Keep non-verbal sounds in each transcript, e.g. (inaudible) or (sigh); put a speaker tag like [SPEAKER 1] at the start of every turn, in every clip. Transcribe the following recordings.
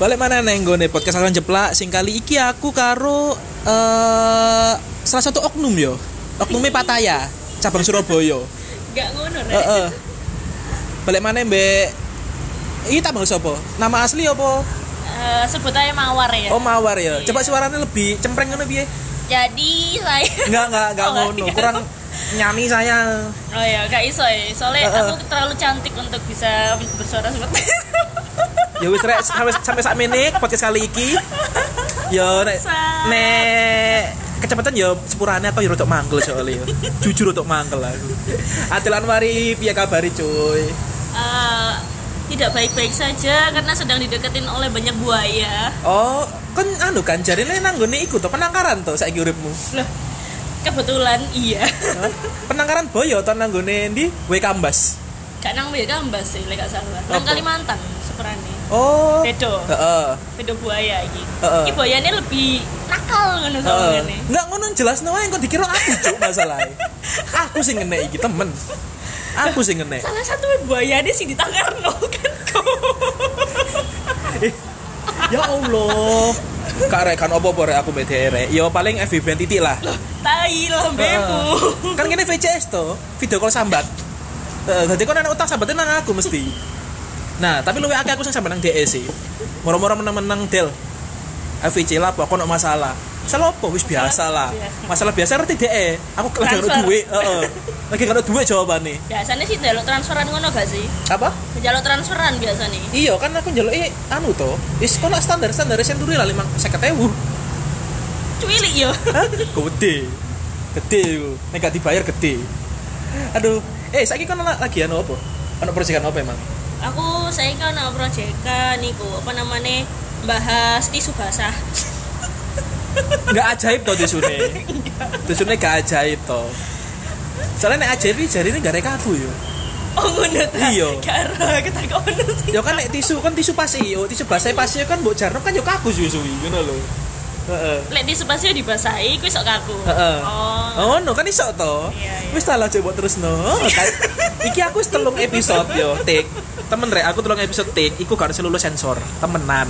[SPEAKER 1] Balik mana neng gue podcast akan jeplak sing kali iki aku karo eh salah satu oknum yo. Oknumnya Pataya, cabang Surabaya.
[SPEAKER 2] Gak ngono, Rek.
[SPEAKER 1] Heeh. Balik mana mbek Iki tak panggil sapa? Nama asli apa?
[SPEAKER 2] Eh, sebut aja mawar ya.
[SPEAKER 1] Oh Mawar ya.
[SPEAKER 2] Iya.
[SPEAKER 1] Coba suaranya lebih cempreng ngono piye?
[SPEAKER 2] Jadi saya
[SPEAKER 1] Enggak, enggak, enggak
[SPEAKER 2] Oh,
[SPEAKER 1] ngono.
[SPEAKER 2] iya.
[SPEAKER 1] Kurang nyami saya.
[SPEAKER 2] Oh ya, gak iso ya. Soalnya
[SPEAKER 1] Heeh.
[SPEAKER 2] aku terlalu cantik untuk bisa bersuara seperti
[SPEAKER 1] (laughs)
[SPEAKER 2] itu.
[SPEAKER 1] ya wis rek sampai sampai sak menik podcast kali iki ya nek
[SPEAKER 2] Sa-
[SPEAKER 1] nek kecepatan ya sepurane aku ya rotok mangkel soalnya ya. jujur rotok mangkel aku Adil Anwari piye kabari cuy
[SPEAKER 2] Eh, tidak baik-baik saja karena sedang dideketin oleh banyak buaya.
[SPEAKER 1] oh kan anu kan jarine nanggone iku to penangkaran to saiki uripmu
[SPEAKER 2] Loh, kebetulan iya. (laughs)
[SPEAKER 1] Hah? penangkaran boyo to nanggone ndi we kambas
[SPEAKER 2] Gak nang buaya gambas sih, lek gak salah. Nang
[SPEAKER 1] Apa?
[SPEAKER 2] Kalimantan seperane.
[SPEAKER 1] oh
[SPEAKER 2] Bedo,
[SPEAKER 1] heeh
[SPEAKER 2] bedo buaya iki.
[SPEAKER 1] Heeh.
[SPEAKER 2] Iki buayane lebih nakal ngono
[SPEAKER 1] heeh
[SPEAKER 2] soalnya.
[SPEAKER 1] enggak ngono jelasno wae kok dikira aku cuk masalahe aku sing ngene iki temen aku sing ngene
[SPEAKER 2] Salah satu buayane sing ditangkarno (laughs) kan kau.
[SPEAKER 1] ya Allah Kak Rek, kan opo rek aku BDR rek Ya paling FB titik lah
[SPEAKER 2] tai lambemu
[SPEAKER 1] Heeh. Kan kene VCS to Video call sambat Heeh, Dadi kan anak utang sambatnya nang aku mesti Nah tapi luwe akeh aku sing sambat nang DE sih Moro-moro menang-menang Del FVC lah apa, kono masalah Salah apa, wis biasa lah Masalah biasa ngerti DE Aku lagi
[SPEAKER 2] Transfer.
[SPEAKER 1] gak duit heeh. Lagi gak duit jawabannya
[SPEAKER 2] biasanya sih jalur transferan ngono gak sih
[SPEAKER 1] Apa?
[SPEAKER 2] jalur transferan biasa nih
[SPEAKER 1] Iya kan aku njaluk anu to Wis kono standar-standar senturi lah 50.000
[SPEAKER 2] cuilik yo (laughs)
[SPEAKER 1] (laughs) Kok gede gede iku nek gak dibayar gede aduh eh saiki kan ana lagi anu apa ana proyekan apa emang
[SPEAKER 2] aku saya kan ada proyekan niku apa namanya bahas tisu basah (laughs)
[SPEAKER 1] nggak ajaib to tisune tisune gak ajaib to soalnya nek ajaib iki jarine gak rek aku yo
[SPEAKER 2] oh ngono ta
[SPEAKER 1] Iya.
[SPEAKER 2] karo ketakon sih
[SPEAKER 1] yo kan nek tisu kan tisu pasti yo tisu basah pasti kan mbok jarno kan yo kaku suwi-suwi ngono lho heeh
[SPEAKER 2] lek tisu basah dibasahi kuwi sok kaku
[SPEAKER 1] Heeh.
[SPEAKER 2] oh
[SPEAKER 1] Oh, no kan iso to.
[SPEAKER 2] Iya, iya.
[SPEAKER 1] Wis tak coba terus no. Iki aku wis telung episode yo, tik. Temen rek, aku telung episode tik, iku gak harus lulus sensor, temenan.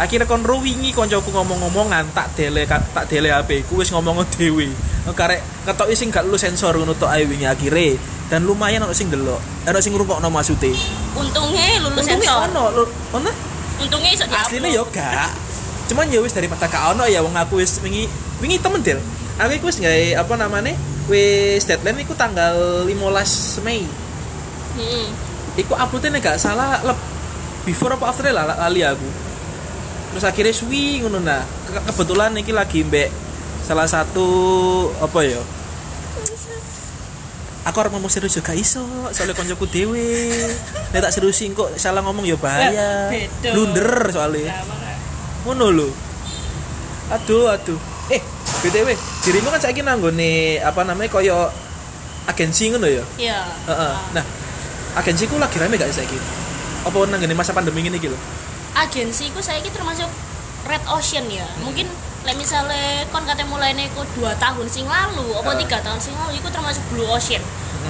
[SPEAKER 1] Akhirnya kon ro wingi koncoku ngomong-ngomongan tak dele tak dele HP ku wis ngomong (laughs) dhewe. Karek ketoki sing gak lulus sensor ngono tok ae wingi akhire dan lumayan ono sing delok, eh, ono sing ngrungokno maksude.
[SPEAKER 2] untungnya lulus
[SPEAKER 1] Untungnya
[SPEAKER 2] sensor
[SPEAKER 1] ono lho, ono
[SPEAKER 2] untungnya iso di
[SPEAKER 1] aslinya yo gak cuman ya wis dari mata kak ono ya wong aku wis wingi wingi temen del aku iku wis nggak apa namanya wis deadline iku tanggal 15 Mei
[SPEAKER 2] hmm.
[SPEAKER 1] iku uploadnya nek gak salah leb, before apa after lah lali aku terus akhirnya suwi ngono nah Ke- kebetulan iki lagi mbek salah satu apa ya aku harus ngomong serius juga iso soalnya koncoku dewe nek tak seriusin kok salah ngomong ya bahaya
[SPEAKER 2] Lah, beda.
[SPEAKER 1] blunder soalnya
[SPEAKER 2] Lama gak?
[SPEAKER 1] ngono lho aduh aduh eh btw dirimu kan saiki nanggone apa namanya koyo agensi ngono ya
[SPEAKER 2] iya Ah.
[SPEAKER 1] Heeh. nah agensi ku lagi rame gak ya saiki apa nanggone masa pandemi ini gitu
[SPEAKER 2] agensi ku saya termasuk red ocean ya mungkin like misalnya kon katanya mulai iku dua tahun sing lalu apa
[SPEAKER 1] Heeh.
[SPEAKER 2] tiga tahun sing lalu iku termasuk blue ocean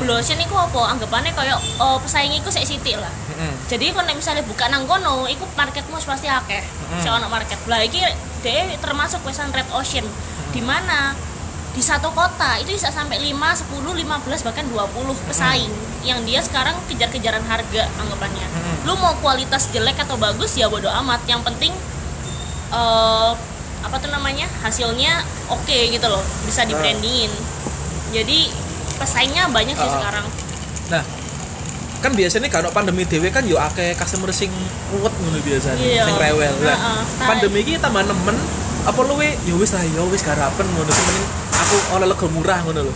[SPEAKER 2] blue ocean iku apa anggapannya kayak oh, pesaing iku sik sithik lah
[SPEAKER 1] Heeh.
[SPEAKER 2] jadi kon like misalnya buka nang kono iku marketmu wis pasti akeh mm. market lah iki dhewe termasuk pesan red ocean di mana di satu kota itu bisa sampai 5, 10, 15 bahkan 20 pesaing yang dia sekarang kejar-kejaran harga anggapannya. Lu mau kualitas jelek atau bagus ya bodo amat, yang penting eh apa tuh namanya? hasilnya oke gitu loh, bisa di brandingin. Jadi pesaingnya banyak sih
[SPEAKER 1] Ah.
[SPEAKER 2] sekarang.
[SPEAKER 1] nah kan biasanya kalau pandemi dewe kan yo akeh customer sing ruwet ngono biasanya
[SPEAKER 2] Iya.
[SPEAKER 1] sing rewel nah,
[SPEAKER 2] Heeh.
[SPEAKER 1] pandemi iki tambah nemen apa luwe ya wis lah ya wis garapan ngono mending aku oleh lego murah ngono lho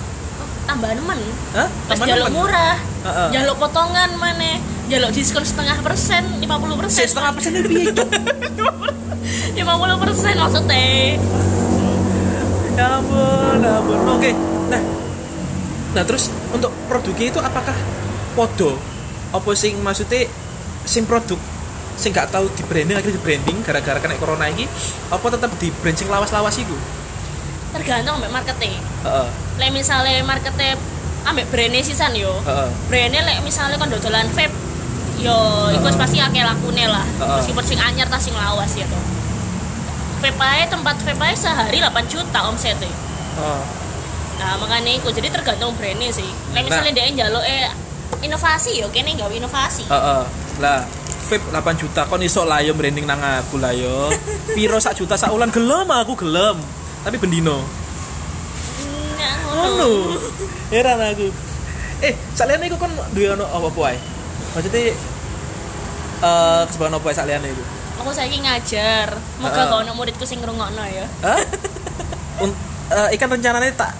[SPEAKER 2] Tambah nemen.
[SPEAKER 1] Hah?
[SPEAKER 2] pas
[SPEAKER 1] Tambah
[SPEAKER 2] jaluk
[SPEAKER 1] nemen?
[SPEAKER 2] murah
[SPEAKER 1] Heeh.
[SPEAKER 2] jaluk potongan mana jaluk diskon setengah persen lima puluh
[SPEAKER 1] Sik,
[SPEAKER 2] persen
[SPEAKER 1] setengah persen itu piye, Cuk?
[SPEAKER 2] (laughs) lima puluh persen maksudnya
[SPEAKER 1] ya ampun ya ampun oke nah nah terus untuk produknya itu apakah podo apa sing maksudnya sing produk sing gak tahu di branding akhirnya di branding gara-gara kena corona ini apa tetap di brand sing lawas-lawas itu
[SPEAKER 2] tergantung mbak marketnya
[SPEAKER 1] Heeh.
[SPEAKER 2] Lah misalnya marketnya ambek brandnya sisan yo
[SPEAKER 1] Heeh.
[SPEAKER 2] brandnya lek misalnya kon dodolan vape yo iku wis pasti akeh lakune lah
[SPEAKER 1] Heeh.
[SPEAKER 2] meskipun sing anyar ta sing lawas ya to vape ae tempat vape ae sehari 8 juta omsetnya
[SPEAKER 1] Oh.
[SPEAKER 2] nah makanya iku jadi tergantung brandnya sih lek
[SPEAKER 1] Nah.
[SPEAKER 2] misalnya dia njaluk eh inovasi yo kene gawe inovasi
[SPEAKER 1] Heeh. Lah, vape 8 juta kon iso lah yo branding nang aku lah yo. Piro sak juta sak ulan gelem aku gelem. Tapi bendino.
[SPEAKER 2] Nah, ngono.
[SPEAKER 1] Ngono. Anu, Heran aku. Eh, saliyane iku kon duwe ono apa-apa ae? Maksudnya eh kesebaran apa ae saliyane iku?
[SPEAKER 2] aku saiki ngajar moga
[SPEAKER 1] Heeh.
[SPEAKER 2] kau ono muridku sing ngrungokno ya (laughs)
[SPEAKER 1] Hah? Un- eh, ikan rencananya tak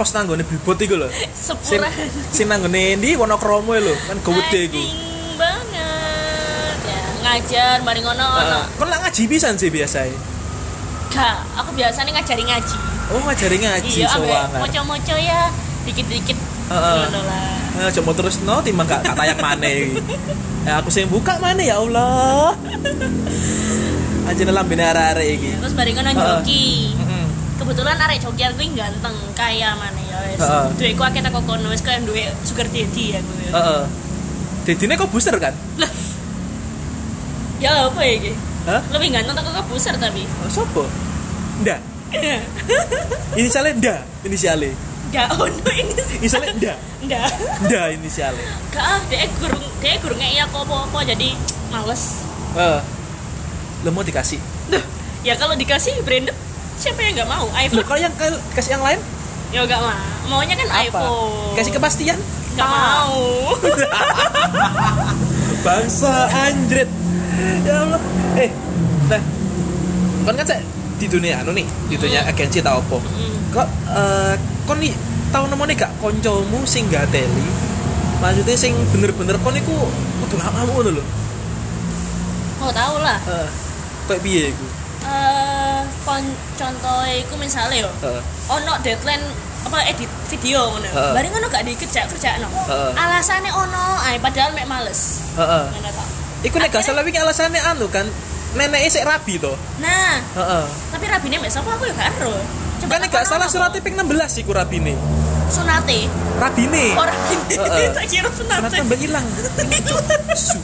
[SPEAKER 1] pos nanggone billboard iku lho. Sing
[SPEAKER 2] sepura
[SPEAKER 1] sing nanggone ndi Wonokromo lho, kan gede iku.
[SPEAKER 2] Anjing banget ya ngajar mari ngono ono
[SPEAKER 1] Heeh. Kon lak ngaji pisan sih biasae.
[SPEAKER 2] gak aku biasanya ngajari ngaji
[SPEAKER 1] Oh, ngajari ngaji
[SPEAKER 2] iya ambek
[SPEAKER 1] sowangan. Eh, Ah,
[SPEAKER 2] moco-moco ya dikit-dikit
[SPEAKER 1] Heeh.
[SPEAKER 2] ngono lah
[SPEAKER 1] Nah, coba terus no timbang gak tak tayak mana ya, aku sing buka mana ya Allah (laughs) aja dalam bina arek iki
[SPEAKER 2] terus mari ngono
[SPEAKER 1] Heeh.
[SPEAKER 2] joki
[SPEAKER 1] Mm-mm.
[SPEAKER 2] kebetulan arek jokian gue ganteng kaya mana ya wes
[SPEAKER 1] Heeh.
[SPEAKER 2] duit ku akeh teko kono wes kaya duit sugar daddy ya gue
[SPEAKER 1] heeh Dedine kok booster kan
[SPEAKER 2] ya apa ya iki?
[SPEAKER 1] Hah?
[SPEAKER 2] lebih ganteng teko kebuser tapi (laughs)
[SPEAKER 1] Oh, sopo nda inisiale nda inisiale
[SPEAKER 2] gak ono ini
[SPEAKER 1] inisiale nda
[SPEAKER 2] enggak
[SPEAKER 1] nda inisiale
[SPEAKER 2] gak ah dia gurung dia gurung ya aku apa-apa jadi males
[SPEAKER 1] heeh lo mau dikasih
[SPEAKER 2] Duh, ya kalau dikasih branded siapa yang nggak mau
[SPEAKER 1] lo
[SPEAKER 2] iPhone
[SPEAKER 1] kalau yang kalau kasih yang lain
[SPEAKER 2] ya nggak mau maunya kan
[SPEAKER 1] apa
[SPEAKER 2] iPhone
[SPEAKER 1] kasih kepastian
[SPEAKER 2] nggak
[SPEAKER 1] (laughs)
[SPEAKER 2] mau
[SPEAKER 1] bangsa anjrit ya Allah eh nah kan kan saya di dunia anu nih di dunia agensi tau apa kok eh kon nih tau nemu nih gak koncomu sing gak teli maksudnya sing bener-bener kon iku kudu ngamu ngono lho
[SPEAKER 2] mau tahu lah
[SPEAKER 1] heeh kayak Eh, piye iku
[SPEAKER 2] eh kon contoh iku misalnya yo
[SPEAKER 1] heeh
[SPEAKER 2] ono deadline apa edit video ngono
[SPEAKER 1] Heeh.
[SPEAKER 2] bareng ngono gak dikerja kerja no
[SPEAKER 1] Heeh.
[SPEAKER 2] alasannya ono ay padahal mek males
[SPEAKER 1] heeh
[SPEAKER 2] ngono tau.
[SPEAKER 1] iku nek gak
[SPEAKER 2] Akhirnya-
[SPEAKER 1] salah wingi alasannya anu kan neneknya sik rabi to
[SPEAKER 2] nah
[SPEAKER 1] heeh
[SPEAKER 2] tapi rabine mek sapa aku ya gak ero
[SPEAKER 1] kan
[SPEAKER 2] Coba
[SPEAKER 1] nek
[SPEAKER 2] takon
[SPEAKER 1] gak salah
[SPEAKER 2] apa?
[SPEAKER 1] suratnya ping 16 iku rabine
[SPEAKER 2] sunate
[SPEAKER 1] rabine
[SPEAKER 2] orang
[SPEAKER 1] Heeh.
[SPEAKER 2] tak kira sunate
[SPEAKER 1] suratnya mbak hilang Su.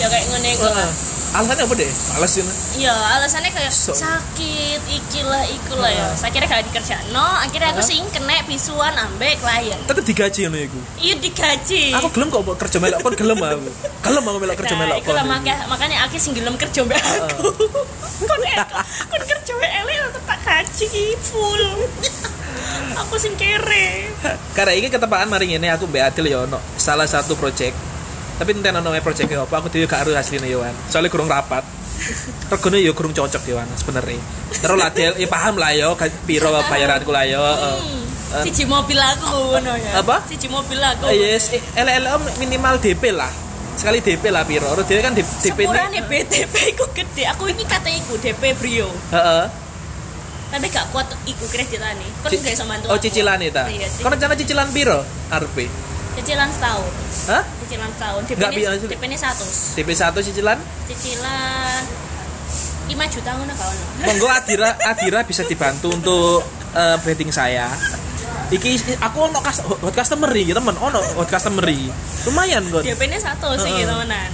[SPEAKER 2] ya kayak ngene iku lah.
[SPEAKER 1] Heeh. alasannya apa deh males ya
[SPEAKER 2] Iya, alasannya kayak
[SPEAKER 1] So-
[SPEAKER 2] sakit, ikilah, ikulah ya.
[SPEAKER 1] Heeh.
[SPEAKER 2] Saya kira gak dikerja. No, akhirnya aku
[SPEAKER 1] Heeh.
[SPEAKER 2] sing kena bisuan ambek klien.
[SPEAKER 1] tetep digaji ngono iku.
[SPEAKER 2] Iya digaji.
[SPEAKER 1] Aku gelem kok mbok kerja melok kon gelem aku. Gelem aku melok kerja
[SPEAKER 2] Nah,
[SPEAKER 1] melok
[SPEAKER 2] iku
[SPEAKER 1] kon.
[SPEAKER 2] lah maka- makanya aku sing gelem kerja mbek aku. (laughs) kon elek, kon kerja mbek elek tetep tak gaji ki full. (laughs) aku sing kere.
[SPEAKER 1] Karena iki ketepaan mari ngene aku mbak Adil ya ono salah satu project. Tapi enten ono project e apa aku dhewe gak ero asline yo Wan. Soale kurang rapat. Regone yo kurang cocok yo Wan sebenarnya. Terus lah Adil ya paham lah yo kan piro bayaranku lah yo. heeh.
[SPEAKER 2] Hmm.
[SPEAKER 1] Eh.
[SPEAKER 2] Siji mobil aku ngono ya.
[SPEAKER 1] Apa?
[SPEAKER 2] Siji mobil aku.
[SPEAKER 1] Eh, Yes, eh, elek-elek om minimal DP lah. Sekali DP lah piro. Terus dhewe kan DP ne.
[SPEAKER 2] Sepurane BTP iku gede. Aku ini kata iku DP Brio.
[SPEAKER 1] Heeh.
[SPEAKER 2] Tapi gak kuat iku kreditane. Kon
[SPEAKER 1] Ci-
[SPEAKER 2] gak iso bantu.
[SPEAKER 1] Oh
[SPEAKER 2] aku.
[SPEAKER 1] cicilan ta.
[SPEAKER 2] Iya, ci-
[SPEAKER 1] Kon rencana cicilan piro? Arpe.
[SPEAKER 2] cicilan setahun.
[SPEAKER 1] Hah?
[SPEAKER 2] Cicilan setahun. DP
[SPEAKER 1] Nggak
[SPEAKER 2] ini
[SPEAKER 1] biasa.
[SPEAKER 2] DP ini 100.
[SPEAKER 1] DP 1 cicilan?
[SPEAKER 2] Cicilan 5 juta ngono gak ono.
[SPEAKER 1] monggo Adira Adira bisa dibantu untuk eh, betting saya iki aku ono kas hot customer iki temen ono hot customer iki. lumayan kok
[SPEAKER 2] DP ini 100 sih
[SPEAKER 1] Heeh.
[SPEAKER 2] temenan.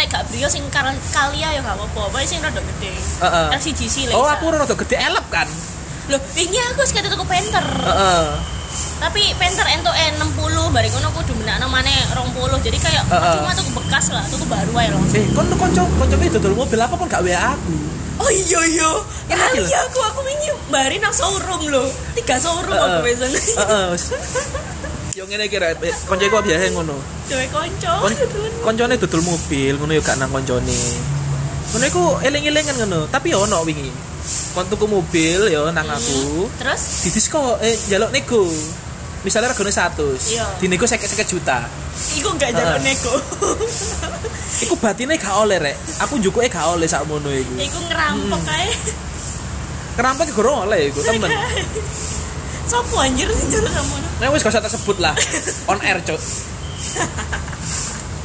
[SPEAKER 2] Lek gak Brio sing kar- kali ya gak apa-apa. Pokoke sing rada gede.
[SPEAKER 1] Heeh.
[SPEAKER 2] LCGC lek.
[SPEAKER 1] oh
[SPEAKER 2] bisa.
[SPEAKER 1] aku rada gede elep kan
[SPEAKER 2] Loh, ini aku sik tuku penter.
[SPEAKER 1] heeh
[SPEAKER 2] Tapi penter entuk eh 60 bareng ngono kudu benakno maneh 20. Jadi kayak
[SPEAKER 1] Heeh.
[SPEAKER 2] cuma tuku bekas lah, tuku baru ae langsung.
[SPEAKER 1] eh kon konco konco iki dodol mobil apa kon gak WA aku
[SPEAKER 2] Oh iya iya.
[SPEAKER 1] Enak
[SPEAKER 2] Kali
[SPEAKER 1] lho.
[SPEAKER 2] aku aku wingi bari nang showroom lho. Tiga showroom aku
[SPEAKER 1] Heeh.
[SPEAKER 2] biasanya. (laughs)
[SPEAKER 1] heeh wis. yo ngene iki rek Eh, konco iku biasa ngono
[SPEAKER 2] Dewe konco.
[SPEAKER 1] kon
[SPEAKER 2] Kon
[SPEAKER 1] koncone dodol mobil ngono yo gak nang koncone ngono iku eling-elingan ngono tapi yo ono wingi kon tuku mobil yo nang
[SPEAKER 2] Iya.
[SPEAKER 1] aku
[SPEAKER 2] Terus
[SPEAKER 1] di disco eh jaluk nego misalnya regane 100
[SPEAKER 2] Iya.
[SPEAKER 1] di nego 50 juta
[SPEAKER 2] iku gak jago
[SPEAKER 1] Heeh.
[SPEAKER 2] neko.
[SPEAKER 1] iku batine gak oleh rek aku njukuke gak oleh sakmono iku
[SPEAKER 2] (laughs) Iku ngerampok ae.
[SPEAKER 1] kerampet goro oleh iku Hmm.
[SPEAKER 2] (laughs)
[SPEAKER 1] temen
[SPEAKER 2] Sopo anjir sih jalan kamu?
[SPEAKER 1] nek wis gak usah tersebut lah on air cok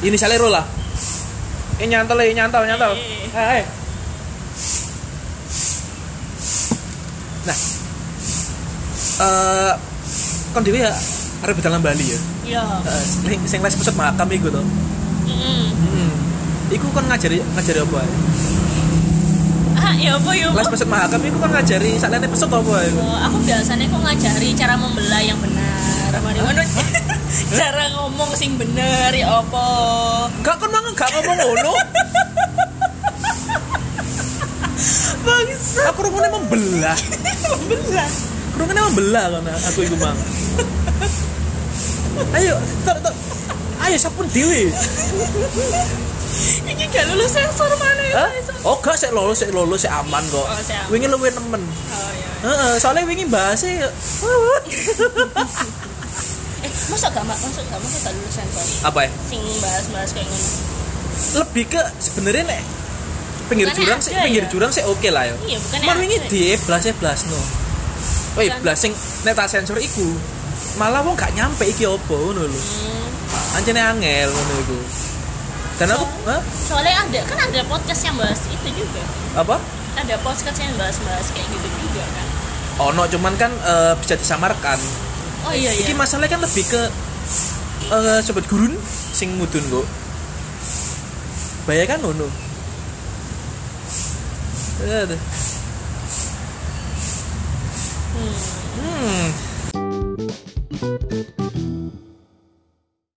[SPEAKER 1] ini sale ro lah eh nyantol eh nyantol nyantol
[SPEAKER 2] Eh.
[SPEAKER 1] eh eh. nah eh kon dhewe ya arep dalam Bali ya.
[SPEAKER 2] Iya.
[SPEAKER 1] Eh, sing sing les pusat makam iku to.
[SPEAKER 2] Mm-mm.
[SPEAKER 1] Heeh. Iku kon ngajari ngajari apa ya? ae?
[SPEAKER 2] Ah, ya apa ya apa?
[SPEAKER 1] Les pusat makam iku kon ngajari sakjane pusat apa ya? ae?
[SPEAKER 2] Oh, aku biasanya kok ngajari cara membelah yang benar. Mari ngono. (laughs) cara ngomong sing bener ya apa?
[SPEAKER 1] Enggak kon mang enggak ngomong ngono.
[SPEAKER 2] Bangsa
[SPEAKER 1] Aku rungune membelah.
[SPEAKER 2] belah.
[SPEAKER 1] Kerungane membelah kan aku iku mang. Ayo, tar, tar. Ayo sapun dhewe.
[SPEAKER 2] Ini gak lulus sensor mana ya?
[SPEAKER 1] Hah?
[SPEAKER 2] sensor.
[SPEAKER 1] Oh, gak sik lolos, sik lolos, sik aman kok.
[SPEAKER 2] Oh, sik aman.
[SPEAKER 1] Wingi luwih nemen.
[SPEAKER 2] Oh, iya.
[SPEAKER 1] Heeh, soalnya wingi e, bahasnya
[SPEAKER 2] Eh, masuk gak mbak? Masuk gak? Masuk gak lulus sensor?
[SPEAKER 1] apa ya?
[SPEAKER 2] Sing bahas-bahas kayak gini.
[SPEAKER 1] Lebih ke sebenarnya nek pinggir
[SPEAKER 2] Bukannya
[SPEAKER 1] jurang sih,
[SPEAKER 2] ada
[SPEAKER 1] pinggir
[SPEAKER 2] ya?
[SPEAKER 1] jurang sih oke lah ya.
[SPEAKER 2] Iya, bukannya
[SPEAKER 1] Cuman wingi
[SPEAKER 2] ada.
[SPEAKER 1] di blas blas no. Woi,
[SPEAKER 2] Bukan.
[SPEAKER 1] blas sing nek tak sensor iku malah wong gak nyampe iki opo ngono lho.
[SPEAKER 2] Hmm.
[SPEAKER 1] Anjene angel ngono iku. Dan aku,
[SPEAKER 2] So-
[SPEAKER 1] hah?
[SPEAKER 2] Soalnya ada kan ada podcast yang bahas itu juga.
[SPEAKER 1] apa?
[SPEAKER 2] Ada podcast yang bahas-bahas kayak gitu juga kan.
[SPEAKER 1] Ono cuman kan eh, bisa disamarkan.
[SPEAKER 2] Oh iya iya.
[SPEAKER 1] Iki masalahnya kan lebih ke eh sobat gurun sing mudun kok. Bayangkan ngono. Iya, Aduh.
[SPEAKER 2] Hmm.
[SPEAKER 1] Hmm.